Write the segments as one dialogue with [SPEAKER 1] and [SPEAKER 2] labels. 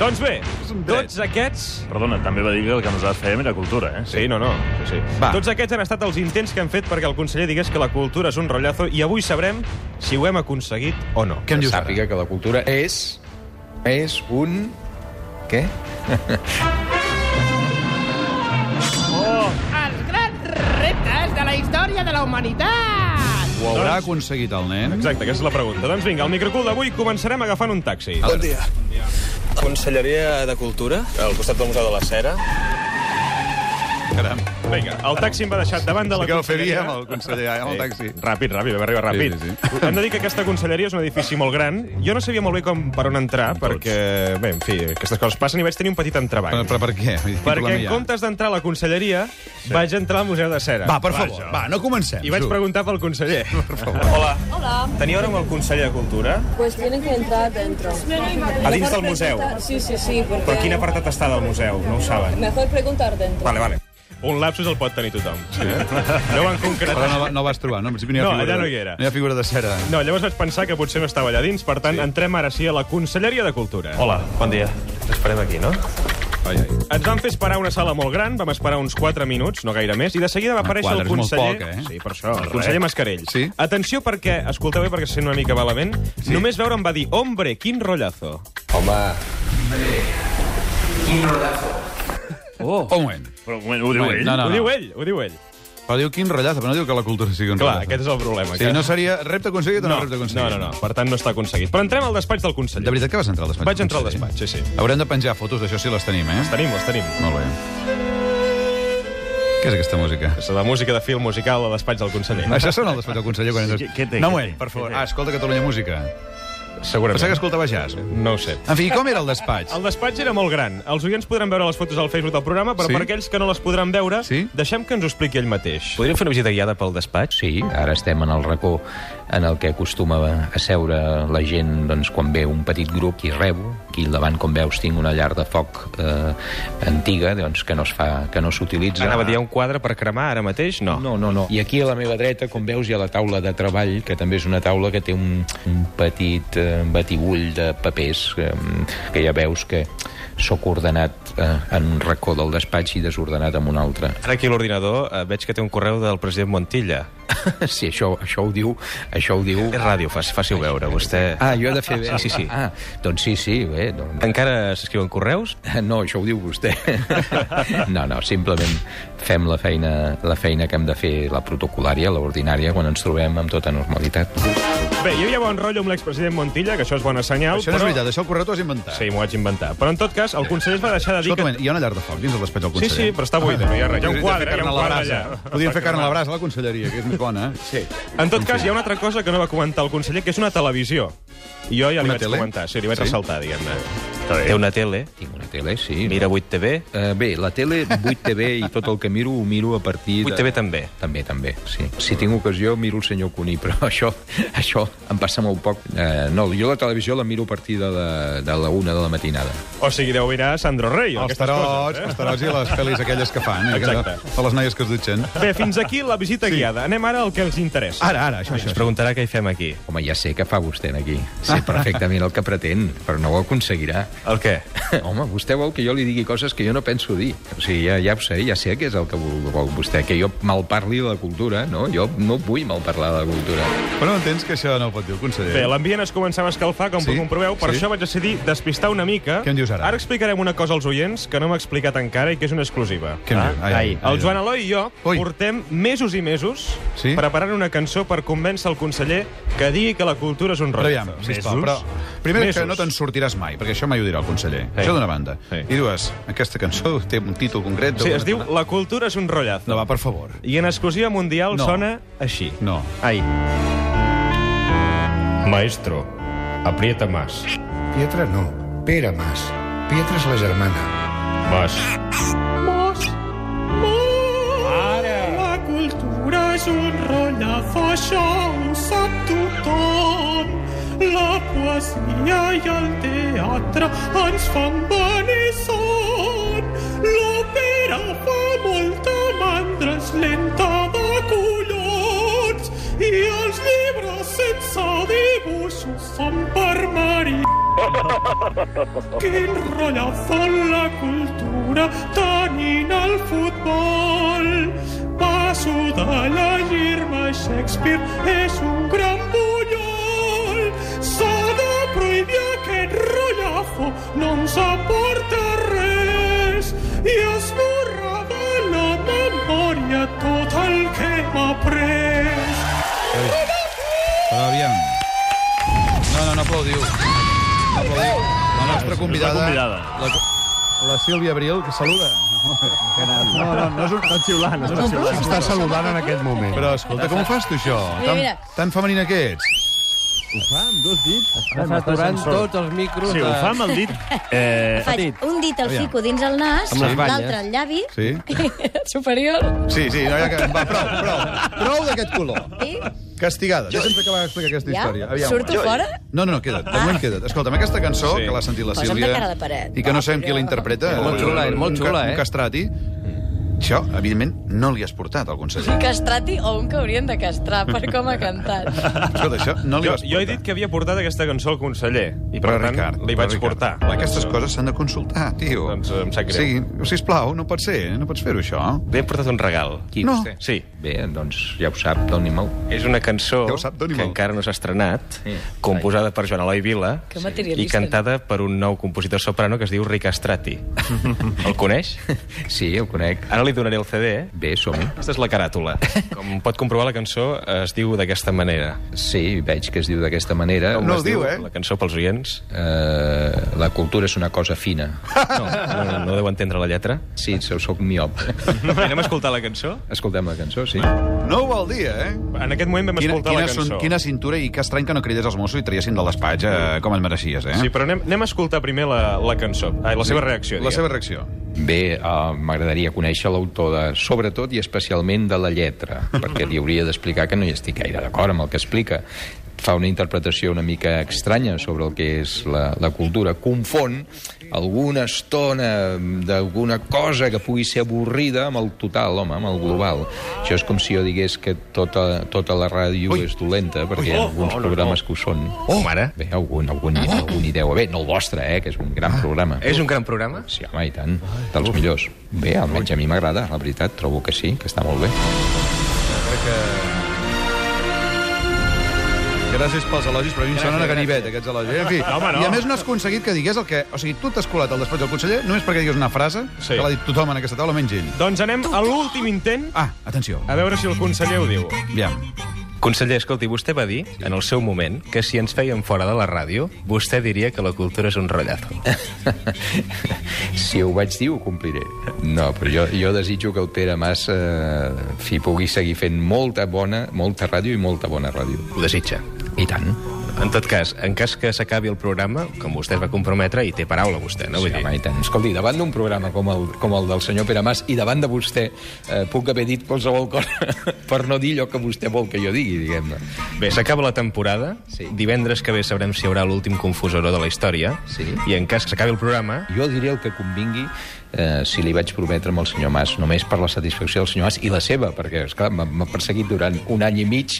[SPEAKER 1] Doncs bé,
[SPEAKER 2] És un dret.
[SPEAKER 1] tots aquests...
[SPEAKER 3] Perdona, també va dir que el que nosaltres fèiem era cultura, eh?
[SPEAKER 1] Sí, no, no. Sí, sí.
[SPEAKER 2] Va.
[SPEAKER 1] Tots aquests han estat els intents que han fet perquè el conseller digués que la cultura és un rotllazo i avui sabrem si ho hem aconseguit o no.
[SPEAKER 2] Què en dius ara?
[SPEAKER 4] Sàpiga que la cultura és... És un... Què?
[SPEAKER 5] Els grans reptes de la història de la humanitat!
[SPEAKER 2] Ho haurà aconseguit el nen?
[SPEAKER 1] Exacte, aquesta és la pregunta. Doncs vinga, al microcul d'avui començarem agafant un taxi.
[SPEAKER 2] Ah,
[SPEAKER 6] Bon dia. Conselleria de Cultura, al costat del Museu de la Cera.
[SPEAKER 2] Caram,
[SPEAKER 1] Vinga, el taxi em va deixar davant de la
[SPEAKER 2] sí que ho
[SPEAKER 1] conselleria.
[SPEAKER 2] faria amb el conseller, amb el taxi.
[SPEAKER 1] Ràpid, ràpid, vam arribar ràpid.
[SPEAKER 2] Sí,
[SPEAKER 1] Sí,
[SPEAKER 2] sí,
[SPEAKER 1] sí. Hem de dir que aquesta conselleria és un edifici molt gran. Jo no sabia molt bé com per on entrar, perquè, bé, en fi, aquestes coses passen i vaig tenir un petit
[SPEAKER 2] Però,
[SPEAKER 1] entrebanc.
[SPEAKER 2] però per què? Quin
[SPEAKER 1] perquè
[SPEAKER 2] problema
[SPEAKER 1] en
[SPEAKER 2] hi ha?
[SPEAKER 1] comptes d'entrar a la conselleria, sí. vaig entrar al Museu de Cera.
[SPEAKER 2] Va, per favor,
[SPEAKER 1] jo.
[SPEAKER 2] va, no comencem.
[SPEAKER 1] I vaig
[SPEAKER 2] tu.
[SPEAKER 1] preguntar pel conseller.
[SPEAKER 6] Hola.
[SPEAKER 7] Hola,
[SPEAKER 1] Teniu ara amb el conseller de Cultura?
[SPEAKER 7] pues tienen que entrar adentro.
[SPEAKER 1] A dins del museu?
[SPEAKER 7] Sí, sí, sí, porque...
[SPEAKER 1] Però quin apartat està del museu? No ho saben.
[SPEAKER 7] Mejor preguntar dentro.
[SPEAKER 1] Vale, vale. Un lapsus el pot tenir tothom. Sí. No van
[SPEAKER 2] Però
[SPEAKER 1] concretar.
[SPEAKER 2] no, va- no vas trobar, no? En principi no hi ha
[SPEAKER 1] No,
[SPEAKER 2] figura.
[SPEAKER 1] allà
[SPEAKER 2] de-
[SPEAKER 1] no hi era.
[SPEAKER 2] No hi ha figura de cera.
[SPEAKER 1] No, llavors vaig pensar que potser no estava allà dins, per tant, sí. entrem ara sí a la Conselleria de Cultura.
[SPEAKER 6] Hola, bon dia. Esperem aquí, no?
[SPEAKER 2] Ai, ai.
[SPEAKER 1] Ens van fer esperar una sala molt gran, vam esperar uns 4 minuts, no gaire més, i de seguida va aparèixer
[SPEAKER 2] quatre
[SPEAKER 1] el
[SPEAKER 2] és molt
[SPEAKER 1] conseller...
[SPEAKER 2] poc, eh?
[SPEAKER 1] Sí, per això. El conseller Mascarell.
[SPEAKER 2] Sí.
[SPEAKER 1] Atenció perquè, escolteu bé perquè se sent una mica malament, sí. només veure em va dir, hombre, quin rotllazo.
[SPEAKER 2] Oh. Un moment.
[SPEAKER 3] Però un moment, ho diu ell?
[SPEAKER 2] No, no,
[SPEAKER 1] Ho
[SPEAKER 2] no.
[SPEAKER 1] diu ell, ho diu ell.
[SPEAKER 2] Però diu quin rotllazo, però no diu que la cultura sigui un
[SPEAKER 1] Clar,
[SPEAKER 2] rotllazo.
[SPEAKER 1] aquest és el problema.
[SPEAKER 2] Sí, no seria repte aconseguit o no,
[SPEAKER 1] no,
[SPEAKER 2] repte
[SPEAKER 1] no,
[SPEAKER 2] aconseguit?
[SPEAKER 1] no, no, per tant no està aconseguit. Però entrem al despatx del conseller.
[SPEAKER 2] De veritat que vas entrar al despatx?
[SPEAKER 1] Vaig entrar al
[SPEAKER 2] conseller?
[SPEAKER 1] despatx, sí, sí.
[SPEAKER 2] Haurem de penjar fotos d'això si les tenim, eh?
[SPEAKER 1] Les tenim, les tenim.
[SPEAKER 2] Molt bé. Què és aquesta música?
[SPEAKER 1] És la música de film musical al despatx del conseller.
[SPEAKER 2] Això sona el despatx del conseller quan
[SPEAKER 3] Sí,
[SPEAKER 2] entres...
[SPEAKER 3] què- què té,
[SPEAKER 2] no,
[SPEAKER 3] què
[SPEAKER 2] Noel,
[SPEAKER 3] té,
[SPEAKER 2] per favor.
[SPEAKER 3] què té?
[SPEAKER 2] Ah, escolta Catalunya Música.
[SPEAKER 1] Segurament.
[SPEAKER 2] Pensava que escoltava jazz.
[SPEAKER 1] No ho sé.
[SPEAKER 2] En fi, i com era el despatx?
[SPEAKER 1] El despatx era molt gran. Els oients podran veure les fotos al Facebook del programa, però sí?
[SPEAKER 2] Sí?
[SPEAKER 1] per aquells que no les podran veure,
[SPEAKER 2] Sí?
[SPEAKER 1] deixem que ens ho expliqui ell mateix.
[SPEAKER 8] Podríem fer una visita guiada pel despatx?
[SPEAKER 4] Sí, ara estem en el racó en el que acostuma a seure la gent doncs, quan ve un petit grup qui rebo. Aquí al davant, com veus, tinc una llar de foc eh, antiga doncs, que no es fa, que no s'utilitza.
[SPEAKER 8] Anava a dir hi ha un quadre per cremar ara mateix? No.
[SPEAKER 4] No, no, no. I aquí a la meva dreta, com veus, hi ha la taula de treball, que també és una taula que té un, un petit eh, batibull de papers, eh, que ja veus que sóc ordenat eh, en un racó del despatx i desordenat en un altre.
[SPEAKER 8] Ara aquí a l'ordinador eh, veig que té un correu del president Montilla.
[SPEAKER 4] Sí, això, això ho diu... Això ho diu...
[SPEAKER 8] És ràdio, faci, faci veure, vostè...
[SPEAKER 4] Ah, jo he de fer bé.
[SPEAKER 8] Sí, sí, sí.
[SPEAKER 4] Ah, doncs sí, sí, bé, doncs...
[SPEAKER 8] Encara s'escriuen correus?
[SPEAKER 4] No, això ho diu vostè. No, no, simplement fem la feina, la feina que hem de fer, la protocolària, l'ordinària, quan ens trobem amb tota normalitat.
[SPEAKER 1] Bé, jo hi havia bon rotllo amb l'expresident Montilla, que això és bona senyal,
[SPEAKER 2] Això no és
[SPEAKER 1] però...
[SPEAKER 2] veritat, això el correu t'ho has inventat.
[SPEAKER 1] Sí, m'ho vaig inventar. Però, en tot cas, el conseller es va deixar de dir
[SPEAKER 2] Escolta, un
[SPEAKER 1] que...
[SPEAKER 2] moment, hi ha una llar de foc dins del despatx del
[SPEAKER 1] Sí,
[SPEAKER 2] conseller.
[SPEAKER 1] sí, però està buida, no hi ha res. Hi ha un
[SPEAKER 2] Podríem fer
[SPEAKER 1] quadre, hi
[SPEAKER 2] carn
[SPEAKER 1] ha
[SPEAKER 2] a
[SPEAKER 1] un
[SPEAKER 2] la
[SPEAKER 1] quadre
[SPEAKER 2] brasa.
[SPEAKER 1] allà.
[SPEAKER 2] Podríem fer carn a la brasa a la conselleria, que és més bona. Sí.
[SPEAKER 1] En tot cas, hi ha una altra cosa que no va comentar el conseller, que és una televisió. I jo ja li
[SPEAKER 2] Una
[SPEAKER 1] vaig
[SPEAKER 2] tele?
[SPEAKER 1] comentar, sí, li vaig
[SPEAKER 2] Sí?
[SPEAKER 1] ressaltar, diguem-ne.
[SPEAKER 3] Està
[SPEAKER 8] Té
[SPEAKER 3] bé.
[SPEAKER 8] una tele,
[SPEAKER 4] Tinc una tele, sí.
[SPEAKER 8] mira 8TV,
[SPEAKER 4] Eh, bé, la tele, 8TV i tot el que miro, ho miro a partir de...
[SPEAKER 8] 8TV també.
[SPEAKER 4] També, també, sí. Si tinc ocasió, miro el senyor Cuní, però això, això em passa molt poc. Eh, no, jo la televisió la miro a partir de la, de la una de la matinada.
[SPEAKER 1] O sigui, deu mirar Sandro Rey, o
[SPEAKER 2] Els
[SPEAKER 1] aquestes
[SPEAKER 2] tarots,
[SPEAKER 1] coses, eh?
[SPEAKER 2] els tarots i les pel·lis aquelles que fan. Eh?
[SPEAKER 1] Exacte.
[SPEAKER 2] Que, de les noies que es dutxen.
[SPEAKER 1] Bé, fins aquí la visita sí. guiada. Anem ara al que ens interessa.
[SPEAKER 2] Ara, ara, això, això.
[SPEAKER 8] Ens
[SPEAKER 2] això.
[SPEAKER 8] preguntarà què hi fem aquí.
[SPEAKER 4] Home, ja sé què fa vostè aquí. Sé perfectament el que pretén, però no ho aconseguirà.
[SPEAKER 8] El què?
[SPEAKER 4] Home, vostè vol que jo li digui coses que jo no penso dir. O sigui, ja, ja ho sé, ja sé què és el que vol, vol vostè, que jo malparli de la cultura, no? Jo no vull malparlar de la cultura.
[SPEAKER 2] Però no entens que això no ho pot dir el conseller.
[SPEAKER 1] Bé, l'ambient es començava a escalfar, com
[SPEAKER 2] Sí?
[SPEAKER 1] sí? comproveu, per sí?
[SPEAKER 2] Sí?
[SPEAKER 1] això vaig decidir despistar una mica.
[SPEAKER 2] Què en dius ara?
[SPEAKER 1] Ara explicarem una cosa als oients que no m'ha explicat encara i que és una exclusiva.
[SPEAKER 2] Què em diu? Ai, ai, ai,
[SPEAKER 1] El Joan Eloi i jo
[SPEAKER 2] Ui.
[SPEAKER 1] Ui. portem mesos i mesos
[SPEAKER 2] Sí?
[SPEAKER 1] preparant una cançó per convèncer el conseller que digui que la cultura és un
[SPEAKER 2] Però
[SPEAKER 1] rotllo.
[SPEAKER 2] aviam, sisplau, però... Primer, que no te'n sortiràs mai, perquè això mai ho dirà el conseller. Això d'una banda.
[SPEAKER 1] Sí.
[SPEAKER 2] I dues, aquesta cançó té un títol concret...
[SPEAKER 1] Sí, es
[SPEAKER 2] d'una-
[SPEAKER 1] diu La cultura és un rotllazo.
[SPEAKER 2] No, va, per favor.
[SPEAKER 1] I en exclusiva mundial
[SPEAKER 2] No.
[SPEAKER 1] sona així.
[SPEAKER 2] No.
[SPEAKER 1] Ai. Maestro, aprieta más.
[SPEAKER 9] Pietra no, Pere Mas. Pietra és la germana.
[SPEAKER 1] Más.
[SPEAKER 5] La cultura és un rotllazo, això ho sap tothom. La poesia i el teatre ens fan venir son. L'òpera fa molta mandra, és lenta de collons. I els llibres sense dibuixos són per mari...
[SPEAKER 10] Qué enrollazón la cultura, tanin al fútbol. Paso de la Irma Shakespeare es un gran bullol. Sada prohibia que enrollazo no ens aporta res i esborra de la memòria tot el que hem après.
[SPEAKER 2] Però aviam. No, no, no aplaudiu. No aplaudiu. La nostra convidada...
[SPEAKER 3] La convidada.
[SPEAKER 2] La, la Sílvia Abril, que saluda.
[SPEAKER 11] No, no, no és un tot xiulant. No és un xiulant.
[SPEAKER 9] Està saludant en aquest moment.
[SPEAKER 2] Però escolta, com ho fas tu, això?
[SPEAKER 7] Mira,
[SPEAKER 2] Tan,
[SPEAKER 7] mira.
[SPEAKER 2] tan femenina que ets.
[SPEAKER 11] Està saturant tots els micros.
[SPEAKER 3] Si ho fa amb el dit... Eh,
[SPEAKER 10] Petit.
[SPEAKER 12] un dit el
[SPEAKER 2] Aviam.
[SPEAKER 12] fico dins el nas,
[SPEAKER 11] Amb les banyes.
[SPEAKER 12] l'altre al llavi,
[SPEAKER 2] Sí?
[SPEAKER 7] Superior.
[SPEAKER 2] Sí, sí, no hi ha que... Va, prou, prou. Prou d'aquest color.
[SPEAKER 12] i
[SPEAKER 2] Castigada. Jo... Deixa'm acabar d'explicar aquesta
[SPEAKER 12] ja?
[SPEAKER 2] història. Aviam.
[SPEAKER 12] Surto
[SPEAKER 2] Jo-
[SPEAKER 12] fora?
[SPEAKER 2] No, no, no, queda't. De moment queda't. Escolta'm, aquesta cançó,
[SPEAKER 1] Sí.
[SPEAKER 2] sí. que l'ha sentit la
[SPEAKER 12] Posa'm de
[SPEAKER 2] Sílvia...
[SPEAKER 12] cara de paret.
[SPEAKER 2] I que no
[SPEAKER 12] Va,
[SPEAKER 2] sabem qui
[SPEAKER 12] però-
[SPEAKER 2] la interpreta.
[SPEAKER 11] Molt
[SPEAKER 2] un-
[SPEAKER 11] xula, eh?
[SPEAKER 2] un
[SPEAKER 11] Molt
[SPEAKER 2] ca-
[SPEAKER 11] xula, eh?
[SPEAKER 2] Un castrati. Això, evidentment, no li has portat al conseller.
[SPEAKER 7] Castrati o un que haurien de castrar per com ha cantat.
[SPEAKER 2] Escolta, això no
[SPEAKER 1] Jo,
[SPEAKER 2] li vas portar.
[SPEAKER 1] jo he dit que havia portat aquesta cançó al conseller. I, per
[SPEAKER 2] Però,
[SPEAKER 1] tant,
[SPEAKER 2] Ricard,
[SPEAKER 1] li
[SPEAKER 2] però,
[SPEAKER 1] vaig
[SPEAKER 2] Ricard,
[SPEAKER 1] portar.
[SPEAKER 2] Aquestes coses s'han de consultar, tio.
[SPEAKER 1] Doncs, eh, em sap greu.
[SPEAKER 2] Sí, sisplau, no pot ser, eh, no pots fer-ho, això.
[SPEAKER 1] Li he portat un regal.
[SPEAKER 4] Qui,
[SPEAKER 2] No.
[SPEAKER 4] vostè?
[SPEAKER 1] Sí.
[SPEAKER 4] Bé, doncs ja ho sap, doni'm-el.
[SPEAKER 1] És una cançó
[SPEAKER 2] Ja ho sap, doni-me'l.
[SPEAKER 1] que encara no s'ha estrenat,
[SPEAKER 4] Sí.
[SPEAKER 1] composada per Joan Eloi Vila
[SPEAKER 7] Que
[SPEAKER 1] i
[SPEAKER 7] materialista.
[SPEAKER 1] cantada per un nou compositor soprano que es diu Rick Astrati. El coneix?
[SPEAKER 4] Sí, el conec.
[SPEAKER 1] Ara li donaré el CD.
[SPEAKER 4] Bé, som -hi.
[SPEAKER 1] Aquesta és la caràtula. Com pot comprovar, la cançó es diu d'aquesta manera.
[SPEAKER 4] Sí, veig que es diu d'aquesta manera.
[SPEAKER 2] No ho diu, eh?
[SPEAKER 1] La cançó pels oients.
[SPEAKER 4] Uh, la cultura és una cosa fina.
[SPEAKER 1] No, no, no deu entendre la lletra.
[SPEAKER 4] Sí, sou- sóc miop.
[SPEAKER 1] Bé, anem a escoltar la cançó.
[SPEAKER 4] Escoltem la cançó, sí.
[SPEAKER 2] No ho vol dir, eh?
[SPEAKER 1] En aquest moment vam escoltar la cançó.
[SPEAKER 2] son- quina cintura i que estrany que no cridés als Mossos i traiessin de l'espatx eh, com et mereixies, eh?
[SPEAKER 1] Sí, però anem, anem a escoltar primer la, la cançó. Ai, la seva reacció,
[SPEAKER 2] La
[SPEAKER 1] diguem.
[SPEAKER 2] seva reacció.
[SPEAKER 4] Bé, uh, m'agradaria conèixer l'autor, de, sobretot i especialment de la lletra, perquè li hauria d'explicar que no hi estic gaire d'acord amb el que explica. Fa una interpretació una mica estranya sobre el que és la, la cultura. Confon alguna estona d'alguna cosa que pugui ser avorrida amb el total, home, amb el global. Això és com si jo digués que tota, tota la ràdio és dolenta, perquè hi ha alguns programes que ho són.
[SPEAKER 1] Oh, mare. Ah.
[SPEAKER 4] Bé, algun, algun, algun hi deu haver. No el vostre, eh, que és un gran programa.
[SPEAKER 1] És un gran programa?
[SPEAKER 4] Sí, home, i tant. Dels millors. Bé, almenys a mi m'agrada, la veritat. Trobo que sí, que està molt bé.
[SPEAKER 2] Gràcies pels elogis, però a mi em sonen a ganivet, aquests elogis. En fi,
[SPEAKER 1] home, no.
[SPEAKER 2] I a més no has aconseguit que digués el que... O sigui, tu t'has colat al despatx del conseller només perquè digués una frase
[SPEAKER 1] Sí.
[SPEAKER 2] que l'ha dit tothom en aquesta taula, menys ell.
[SPEAKER 1] Doncs anem a l'últim intent,
[SPEAKER 2] Ah, atenció.
[SPEAKER 1] a veure si el conseller ho diu.
[SPEAKER 2] Aviam.
[SPEAKER 8] Conseller, escolti, vostè va dir, en el seu moment, que si ens feien fora de la ràdio, vostè diria que la cultura és un rotllazo.
[SPEAKER 4] si ho vaig dir, ho compliré. No, però jo, jo desitjo que el Pere Mas eh, en fi, pugui seguir fent molta bona, molta ràdio i molta bona ràdio.
[SPEAKER 8] Ho desitja.
[SPEAKER 4] I tant.
[SPEAKER 8] En tot cas, en cas que s'acabi el programa, com vostè es va comprometre, i té paraula vostè, no? Vull
[SPEAKER 4] sí,
[SPEAKER 8] dir,
[SPEAKER 4] home, i tant. Escolti, davant d'un programa com el, com el del senyor Pere Mas i davant de vostè eh, puc haver dit qualsevol cosa per no dir allò que vostè vol que jo digui, diguem-ne.
[SPEAKER 8] Bé, s'acaba la temporada.
[SPEAKER 4] Sí.
[SPEAKER 8] Divendres que ve sabrem si hi haurà l'últim confusor de la història.
[SPEAKER 4] Sí.
[SPEAKER 8] I en cas que s'acabi el programa...
[SPEAKER 4] Jo diré el que convingui eh, si li vaig prometre amb el senyor Mas, només per la satisfacció del senyor Mas i la seva, perquè, esclar, m'ha m'ha perseguit durant un any i mig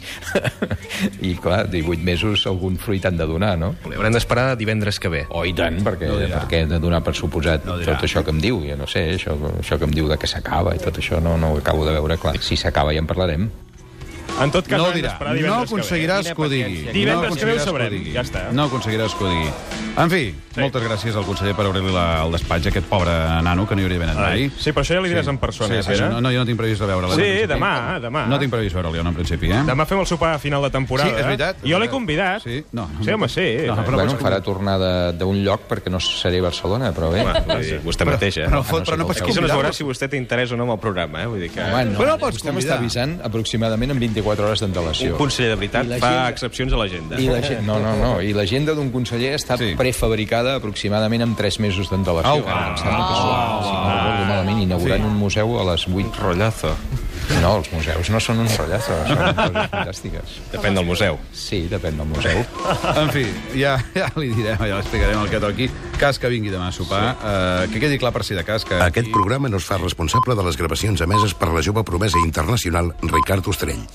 [SPEAKER 4] i, clar, 18 mesos algun fruit han de donar, no?
[SPEAKER 8] Li haurem d'esperar divendres que ve.
[SPEAKER 4] Oh, i tant, perquè, no perquè he de donar per suposat no tot això que em diu, jo no sé, això, això que em diu de que s'acaba i tot això, no, no ho acabo de veure, clar. Si s'acaba ja en parlarem.
[SPEAKER 1] En tot cas,
[SPEAKER 2] No ho
[SPEAKER 1] hem
[SPEAKER 2] dirà.
[SPEAKER 1] d'esperar
[SPEAKER 2] No
[SPEAKER 1] divendres
[SPEAKER 2] aconseguiràs
[SPEAKER 11] Quina
[SPEAKER 2] que ho digui.
[SPEAKER 11] paciència.
[SPEAKER 1] Divendres
[SPEAKER 2] No
[SPEAKER 1] que ve ho
[SPEAKER 2] aconseguiràs
[SPEAKER 1] sabrem.
[SPEAKER 2] ho digui.
[SPEAKER 1] Ja està.
[SPEAKER 2] No aconseguiràs que ho digui. En fi, moltes gràcies al conseller per obrir-li la- el despatx a aquest pobre nano que no hi hauria ben anat mai.
[SPEAKER 1] que ve. Sí, però això ja li diràs en persona,
[SPEAKER 2] Sí, sí,
[SPEAKER 1] eh, Pere?
[SPEAKER 2] no, no, jo no tinc previst de veure-la.
[SPEAKER 1] Sí, demà, demà.
[SPEAKER 2] No tinc previst veure-la, jo, no, en principi, eh?
[SPEAKER 1] Demà fem el sopar a final de temporada. eh?
[SPEAKER 2] Sí, és veritat.
[SPEAKER 1] Jo l'he convidat.
[SPEAKER 2] Sí, no.
[SPEAKER 1] Sí, home, sí.
[SPEAKER 2] No,
[SPEAKER 1] No,
[SPEAKER 2] però
[SPEAKER 4] bueno,
[SPEAKER 2] vols-
[SPEAKER 4] em farà tornar de- d'un lloc perquè no seré a Barcelona, però bé.
[SPEAKER 1] Vull dir, vostè mateix, eh?
[SPEAKER 2] Però, però, però no pots
[SPEAKER 1] Aquí se nos veurà
[SPEAKER 2] convidar-lo.
[SPEAKER 1] si vostè té interès o no amb el programa, eh? Vull dir que...
[SPEAKER 4] Home, no,
[SPEAKER 2] Però pots
[SPEAKER 4] vostè
[SPEAKER 2] convidar.
[SPEAKER 4] m'està avisant aproximadament amb 24 hores d'antelació.
[SPEAKER 1] Un conseller de veritat
[SPEAKER 4] I la
[SPEAKER 1] fa
[SPEAKER 4] gent-
[SPEAKER 1] excepcions a l'agenda.
[SPEAKER 4] I la gent, no, no, no. I l'agenda d'un conseller està
[SPEAKER 2] Sí.
[SPEAKER 4] sí. Oh, prefabricada aproximadament amb 3 mesos d'antelació.
[SPEAKER 2] Au,
[SPEAKER 4] Em sembla que són, si no recordo malament, inaugurant un museu a les 8.
[SPEAKER 1] Rollazo.
[SPEAKER 4] No, els museus no són un rotllazo, són coses fantàstiques.
[SPEAKER 1] Depèn del museu.
[SPEAKER 4] Sí, depèn del museu.
[SPEAKER 2] En fi, ja, ja li direm, ja l'explicarem el que toqui. Cas que vingui demà a sopar, eh, que quedi clar per si de cas que...
[SPEAKER 9] Aquest programa no es fa responsable de les gravacions emeses per la jove promesa internacional Ricard Ostrell.